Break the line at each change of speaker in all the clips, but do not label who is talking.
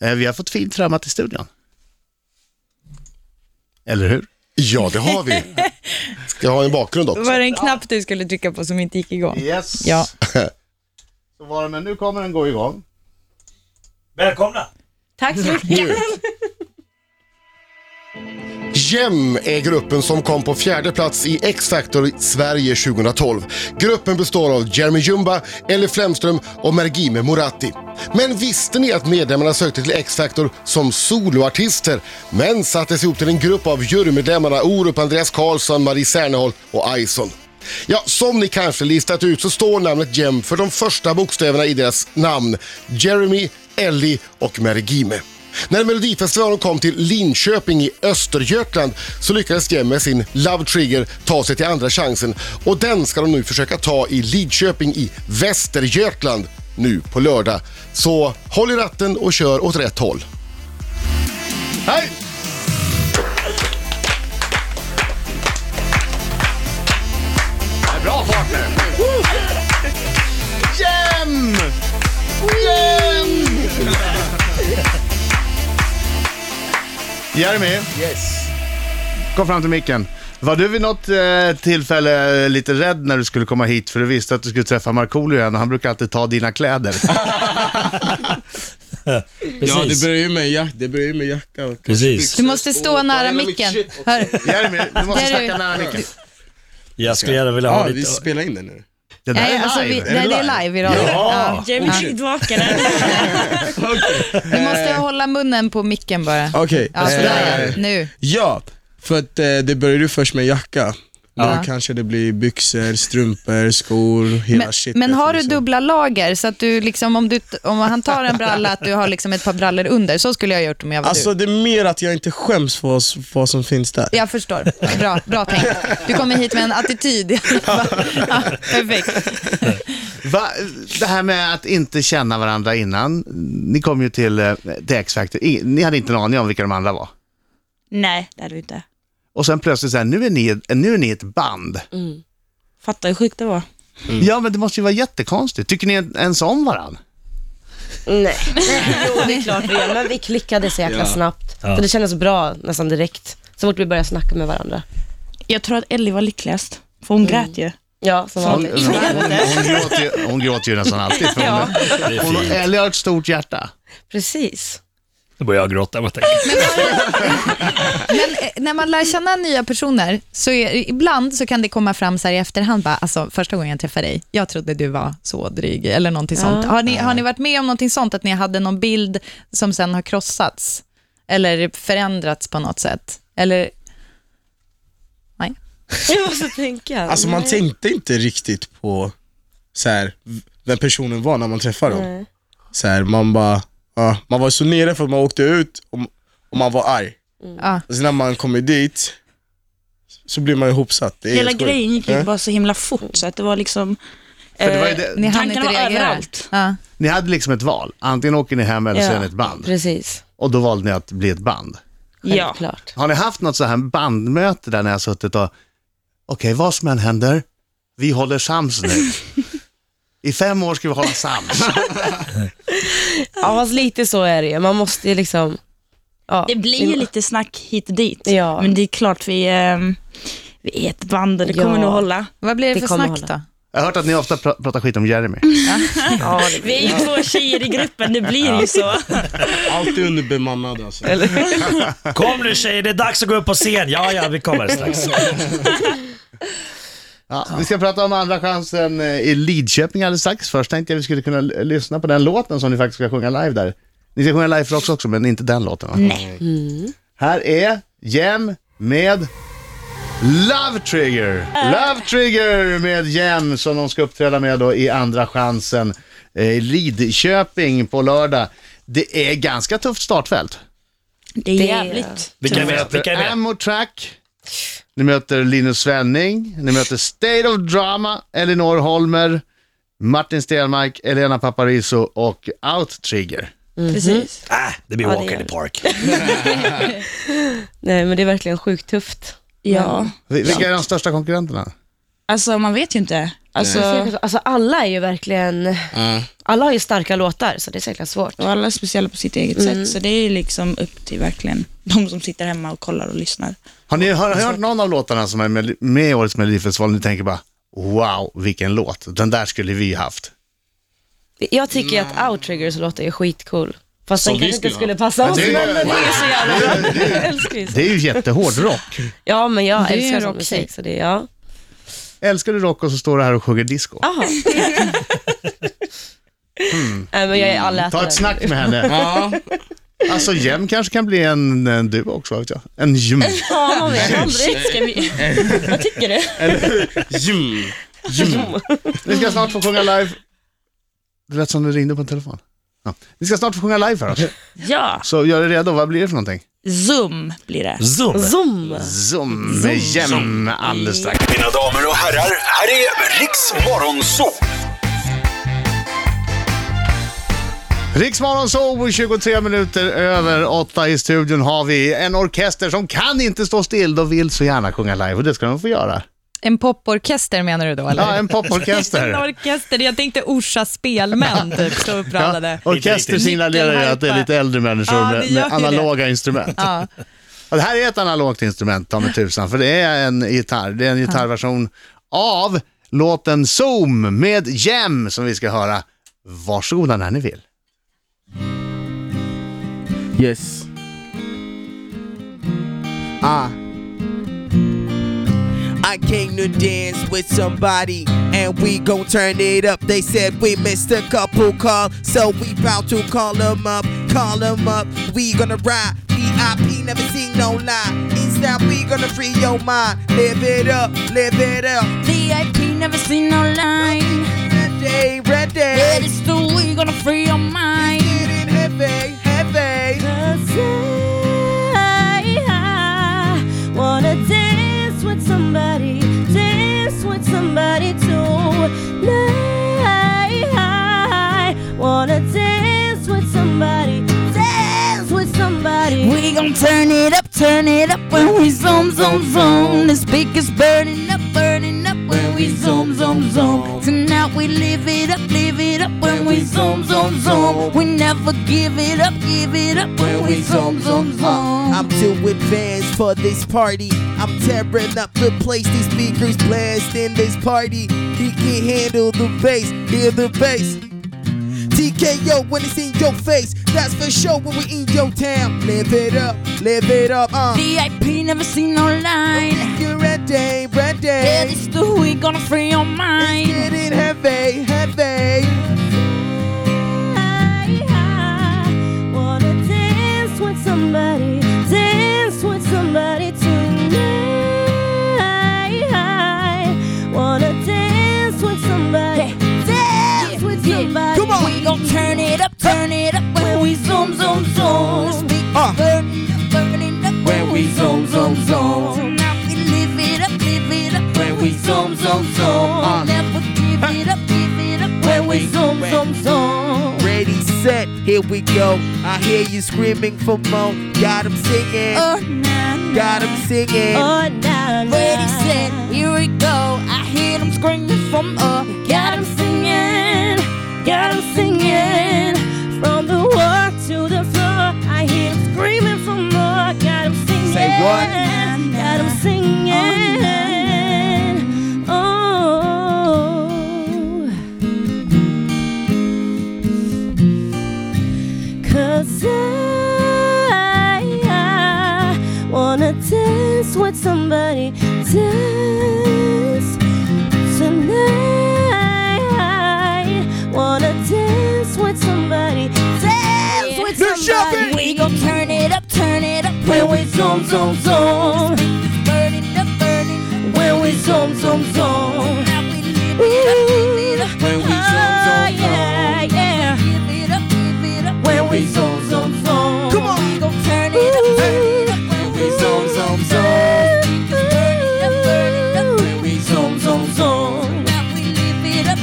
Eh, Vi har fått fint trammat i studion. Eller hur?
Ja, det har vi. Jag har en bakgrund också.
Var det en knapp du skulle trycka på som inte gick igång?
Yes.
Ja.
Så var det, men nu kommer den gå igång.
Välkomna!
Tack så mycket.
Gem är gruppen som kom på fjärde plats i X-Factor Sverige 2012. Gruppen består av Jeremy Jumba, Ellie Flemström och Mergime Moratti. Men visste ni att medlemmarna sökte till X-Factor som soloartister men sattes ihop till en grupp av jurymedlemmarna Orup, Andreas Karlsson, Marie Serneholt och Ison. Ja, som ni kanske listat ut så står namnet Gem för de första bokstäverna i deras namn. Jeremy, Ellie och Mergime. När Melodifestivalen kom till Linköping i Östergötland så lyckades Jem med sin Love Trigger ta sig till andra chansen och den ska de nu försöka ta i Lidköping i Västergötland nu på lördag. Så håll i ratten och kör åt rätt håll. Hej!
Bra fart nu! Jäm! Jäm! Jeremy? Yes? Kom fram till micken. Var du vid något eh, tillfälle lite rädd när du skulle komma hit för du visste att du skulle träffa Markoolio igen och han brukar alltid ta dina kläder?
Precis.
Ja, det börjar ju med jacka, det börjar ju med jacka och
Precis.
Du måste stå nära micken. Hör.
Jeremy, du måste
Där är
snacka
du.
nära micken.
Jag skulle gärna vilja ha
Ja, vi
lite...
spelar in den nu.
Det där
Nej, alltså,
är
vi,
live.
nej, det är live i radio. Ja.
Jamie skidvakare.
Du måste hålla munnen på micken bara.
Okej,
Ja, sådär,
eh,
ja. nu.
ja, för att eh, det börjar ju först med jacka. Då
Ja.
kanske det blir byxor, strumpor, skor, hela
Men,
shitet.
men har du
liksom.
dubbla lager så att du liksom, om, du, om han tar en bralla, att du har liksom ett par brallor under. Så skulle jag ha gjort om jag var
Alltså det är mer att jag inte skäms för vad, s- vad som finns där.
du. Jag förstår. Bra, bra tänkt. Du kommer hit med en attityd. i alla fall. Ja, perfekt.
Va, det här med att inte känna varandra innan. Ni kom ju till, eh, till X-Factor. I- Ni hade inte en aning om vilka de andra var.
Nej, det hade vi inte.
Och sen plötsligt så här, nu är ni, nu är ni ett band.
Fattar hur sjukt det var.
Ja, men det måste ju vara jättekonstigt. Tycker ni ens om varandra?
Nej. jo, det är klart vi gör, men vi klickade så jäkla snabbt. Så det kändes bra nästan direkt, så fort vi började snacka med varandra.
Jag tror att Ellie var lyckligast, för
Mm.
hon grät ju.
Ja, som
Hon,
vanligt.
hon, hon, hon, gråter, ju- hon gråter ju nästan alltid. För hon,
Det är
hon,
fint.
Ellie har ett stort hjärta.
Precis.
Nu börjar jag gråta bara tänker.
Men eh, när man lär känna nya personer, så är, ibland så kan det komma fram så här i efterhand, bara, alltså, första gången jag träffade dig, jag trodde du var så dryg, eller någonting sånt. Har ni, har ni varit med om någonting sånt, att ni hade någon bild som sen har krossats, eller förändrats på något sätt? Eller, nej?
Jag måste tänka.
Alltså man tänkte inte riktigt på så här, v- vem personen var när man träffade dem. Så här, man bara, ja, man var så nere för att man åkte ut och, och man var arg.
Ja.
Och sen Alltså när man kommer dit så blir man ihopsatt. Det är
Hela
helt sjukt.
grejen gick ju
Ja.
bara så himla fort, så att det var liksom...
För det var ju
eh,
det-
Ni hann inte
tankarna var
reagera.
överallt.
Ja.
Ni hade liksom ett val. Antingen åker ni hem eller så är
Ja.
ni ett band.
Precis,
Och då valde ni att bli ett band.
Ja.
självklart.
Har ni haft något så här bandmöte där ni har suttit och, okej vad som än händer, vi håller sams nu. I fem år ska vi hålla sams.
Ja, fast lite så är det ju. Man måste ju liksom... Ja,
Det blir ju lite snack hit och dit,
Ja.
men det är klart vi, ehm, vi är ett band och det
Ja.
kommer nog hålla.
Vad blir det,
Det
för
kommer
snack då?
Jag har hört att ni ofta pr- pratar skit om Jeremy.
Ja, det
Vi är ju två tjejer i gruppen, det blir ju så.
Alltid underbemannad alltså.
jag. Kom nu tjejer, det är dags att gå upp på scen. Ja, ja, vi kommer strax.
Ja, vi ska prata om Andra chansen eh, i Lidköping alldeles strax. Först tänkte jag vi skulle kunna l- lyssna på den låten som ni faktiskt ska sjunga live där. Ni ska sjunga live för oss också, men inte den låten va? Nej. Här är Jem med Love Trigger. Love Trigger med Jem som de ska uppträda med då i Andra chansen eh, i Lidköping på lördag. Det är ganska tufft startfält.
Det är jävligt.
Vilka är med? Vilka är med?
Ammo Track. Ni möter Linus Svenning, ni möter State of Drama, Elinor Holmer, Martin Stenmark, Elena Paparizou och Outtrigger.
Mhm. Precis.
Äh, det blir
Ja, det
Walker
gör
in the
det.
Park.
Nej, men det är verkligen sjukt tufft.
Ja.
Vil- Vilka är de största konkurrenterna?
Alltså man vet ju inte. Alltså,
Alltså alla är ju verkligen,
Ja.
alla har ju starka låtar så det är säkert svårt.
och alla är speciella på sitt eget sätt, så det är ju liksom upp till verkligen de som sitter hemma och kollar och lyssnar.
Har ni hör, hört någon av låtarna som är med, med i årets Melodifestival och ni tänker bara wow, vilken låt, den där skulle vi haft.
Jag tycker att Outriggers låter ju skitcool. Fast
Mm. Som
den
vi
kanske inte
skulle
skulle passa oss,
det-
men den är så jävla bra. Jag älskar ju så.
Det är ju jättehård rock.
Ja, men jag
Det är
älskar sån
rockmusik.
musik. Så det, ja.
Älskar du rock och så står du här och sjunger disco.
Nej, men jag är allätare.
Hmm. Ta ett snack med henne.
Ja.
Alltså Jem kanske kan bli en, en du också, vad vet jag. En Jem.
Ja, man vet
Eh,
aldrig. Ska vi... Vad tycker du?
Eller hur? Jum. Jum.
Ni ska snart få sjunga live. Det lät som du ringde på en telefon. Ja. Ni ska snart få sjunga live för oss.
Ja,
Så gör er redo, vad blir det för någonting?
Zoom blir det.
Zoom.
Zoom.
Zoom med Jem alldeles strax.
Mina damer och herrar, här är Riks Morgonzoo!
Riksmorgon så 23 minuter över åtta i studion har vi en orkester som kan inte stå still. De vill så gärna sjunga live och det ska de få göra.
En poporkester menar du då eller?
Ja, en
En
poporkester.
orkester, jag tänkte Orsa spelmän typ, så
Ja,
uppradade.
orkester signalerar ju att det är lite äldre människor
Ja, det
med,
gör
med
ju det.
analoga instrument.
Ja.
Och det här är ett analogt instrument, ta mig tusan, för det är en gitarr. Det är en gitarrversion av låten Zoom med Jem som vi ska höra. Varsågoda när ni vill.
Yes.
Ah. I came to dance with somebody and we gon' turn it up. They said we missed a couple call, so we bout to call 'em up, call 'em up. We gonna ride, VIP, never seen no lie. East now we gonna free your mind, live it up, live it up.
VIP, never seen no line.
Red day, red
But
day,
it's the we gonna free your mind.
get it heavy, heavy.
Cause I, I wanna dance with somebody, dance with somebody tonight. I wanna dance with somebody, dance with somebody. We gon' turn it up, turn it up when we zoom, zoom, zoom. The speakers burning up, burning up when we zoom, zoom, zoom. Tonight we live it up, live it up when we zoom, zoom, zoom. We never give it up, give it up when we zoom, zoom, zoom.
Uh, I'm too advanced for this party. I'm tearing up the place. These speakers blasting this party. He can handle the bass. Hear the bass. TKO when it's in your face. That's for sure when we in your town. Live it up, live it up. Uh.
VIP never seen no line.
You're a day, red
Yeah,
day.
this the we gonna free your mind.
Get it heavy, heavy.
I wanna dance with somebody, dance with somebody tonight. I wanna dance with somebody, dance with somebody. Come on, we gon' turn it up, turn it up when we zoom, zoom, zoom. Speak
Uh.
burning up, burning up when we zoom, zoom, zoom. Tonight we live it up, live it up when we zoom, zoom, zoom. Never give it up, give it up when we zoom, zoom, zoom.
Ready, set, here we go. I hear you screaming for more. Got 'em singing,
Oh, nah, nah.
got 'em singing.
Oh, nah, nah. Ready, set, here we go. Oh, I hear them screaming from up. Got 'em singing, got 'em singing. From the walk to the floor, I hear 'em screaming for more. Got 'em singing.
Say what?
Got 'em singing. Oh. Cause I, I wanna dance with somebody, dance tonight. I wanna dance with somebody, dance with somebody. We gon' turn it up, turn it up when we zoom, zoom, zoom. Burning up, burning up when we zoom, zoom, zoom. Now we live it up, live it up. When we zoom, zoom, zoom. Yeah, yeah. Give it up, give it up when we zoom, zoom, zoom. Come on, we gon' turn it up, turn it up when we zoom, zoom, zoom. Burn it up, burn it up when we zoom, zoom, zoom. Now we live it up, live it up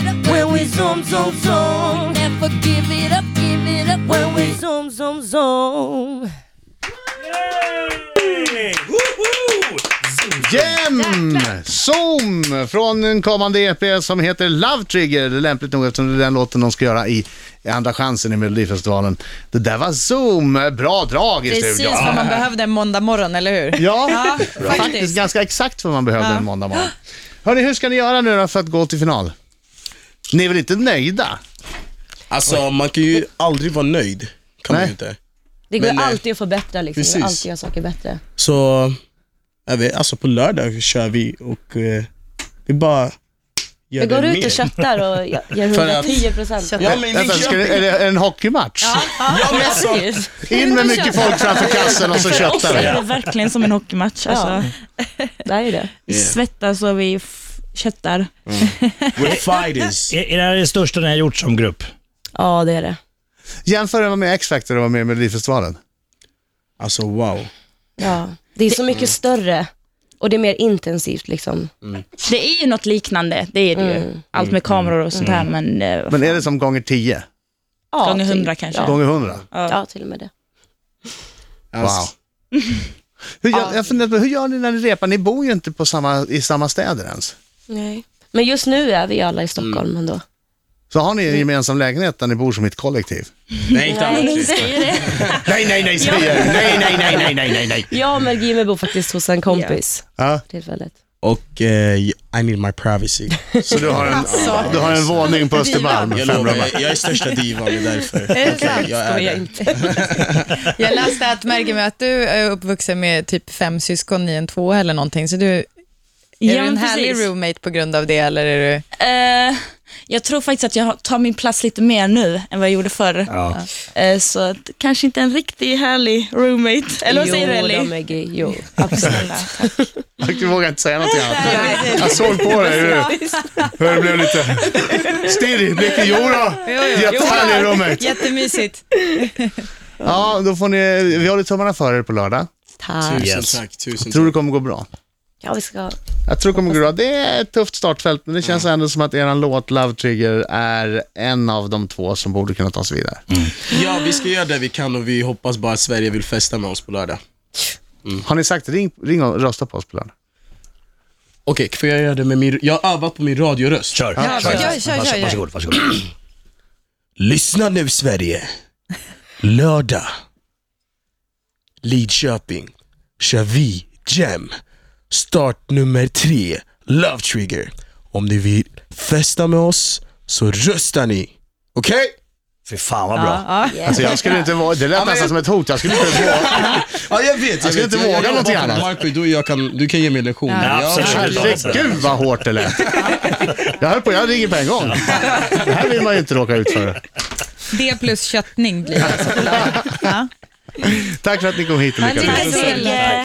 when we zoom, zoom, zoom. Never give it up, give it up when we zoom, zoom, zoom.
Yay! Woho! Zoom.
Jem! Zoom från en kommande EP som heter Love Trigger. Det är lämpligt nog eftersom det är den låten de ska göra i i Andra chansen i Melodifestivalen. Det där var Zoom. Bra drag i
Precis
studion.
vad man behövde en måndag morgon, eller hur?
Ja,
ja
faktiskt
faktiskt.
ganska exakt vad man behövde
Ja.
en måndag morgon. Hörni, hur ska ni göra nu då för att gå till final? Ni är väl inte nöjda?
Alltså man kan ju aldrig vara nöjd. Kan man ju inte.
Det går
Men, eh,
alltid att förbättra liksom. Det går
precis.
alltid att göra saker bättre.
Så, jag vet, alltså på lördag kör vi och eh, vi bara gör
Vi går
det
ut
mer.
och köttar och gör
För att-
110 procent.
Ja, men
Vänta, ska det, är det en hockeymatch?
alltså-
In med mycket folk framför kassen och så
För oss
köttar
är det
vi.
verkligen som en hockeymatch. Alltså.
Det är ju det.
Vi svettas och vi f- köttar.
We're fighters.
Är, är det här det största ni har gjort som grupp?
Ja, det är det.
Jämför det med med X-Factor och med Melodifestivalen.
Alltså wow.
Ja. Det är så mycket större och det är mer intensivt liksom.
Det är ju något liknande, det är det ju. Allt med kameror och sånt här, men... eh,
Men är det som gånger 10?
Ja,
Gånger
typ.
100 kanske.
Gånger 100?
Ja, till och med det.
Alltså.
Wow. Hur gör, jag funderar på, hur gör ni när ni repar? Ni bor ju inte på samma, i samma städer ens.
Nej. Men just nu är vi alla i
Mm.
Stockholm ändå.
Så har ni en gemensam lägenhet där ni bor som ett kollektiv?
Nej inte alls.
Nej, nej, nej, säger jag. Nej, nej, nej, nej, nej, nej, nej.
Jag och Mel Gimmer bor faktiskt hos en kompis
Ja,
för tillfället.
Och eh, I need my privacy.
så du har en, du har en våning på Östermalm.
Jag
fem
lovar,
rum.
jag, jag är största divan, det är därför.
det sant?
jag är det.
Jag läste att, märker mig att du är uppvuxen med typ fem syskon i en tvåa eller någonting, så du, är
Ja,
du en
men
härlig
precis.
roommate på grund av det, eller är du...
Eh, jag tror faktiskt att jag har- tar min plats lite mer nu än vad jag gjorde förr.
Ja.
Eh, så att, kanske inte en riktigt härlig roommate. Eller vad säger du
Jo,
Ellie? Typ.
de är gay. Jo, absolut.
Jag vågar inte säga någonting annat. Jag såg på dig hur, hur det blev lite stirrig i blicken. Jodå, jättehärlig roommate.
Jättemysigt.
Ja, då får ni, vi håller tummarna för er på lördag.
Ah.
Tack.
Tusen
Yes.
tack, tusen
Tror
tack.
det kommer gå bra?
Ja, vi ska...
Jag tror det kommer gå bra. Det är ett tufft startfält, men det känns ändå som att er låt Love Trigger är en av de två som borde kunna ta sig vidare.
Ja, vi ska göra det vi kan och vi hoppas bara att Sverige vill festa med oss på lördag.
Har ni sagt ring, ring och rösta på oss på lördag?
Okej, får jag göra det med min... Jag har övat på min radioröst.
Kör.
Ja,
kör.
kör, kör, kör,
Varsågod,
kör.
Varsågod, varsågod.
Lyssna nu Sverige. Lördag. Lidköping. Kör vi Jam. Start nummer tre. Love Trigger. Om ni vill festa med oss så röstar ni. Okej?
Fy fan vad bra.
Alltså jag skulle inte våga, det lät nästan som ett hot. Jag skulle inte våga.
Ja, jag vet.
skulle inte våga någonting annat.
Marco, du, och jag kan, du kan ge mig lektioner.
Ja,
Jag-
absolut.
Herregud vad hårt det lät. Jag höll på, jag ringer på en gång. Det här vill man ju inte råka ut för.
Det plus köttning blir det.
tá, Tack för att ni kom hit och lycka till.
eh,
Lycka till.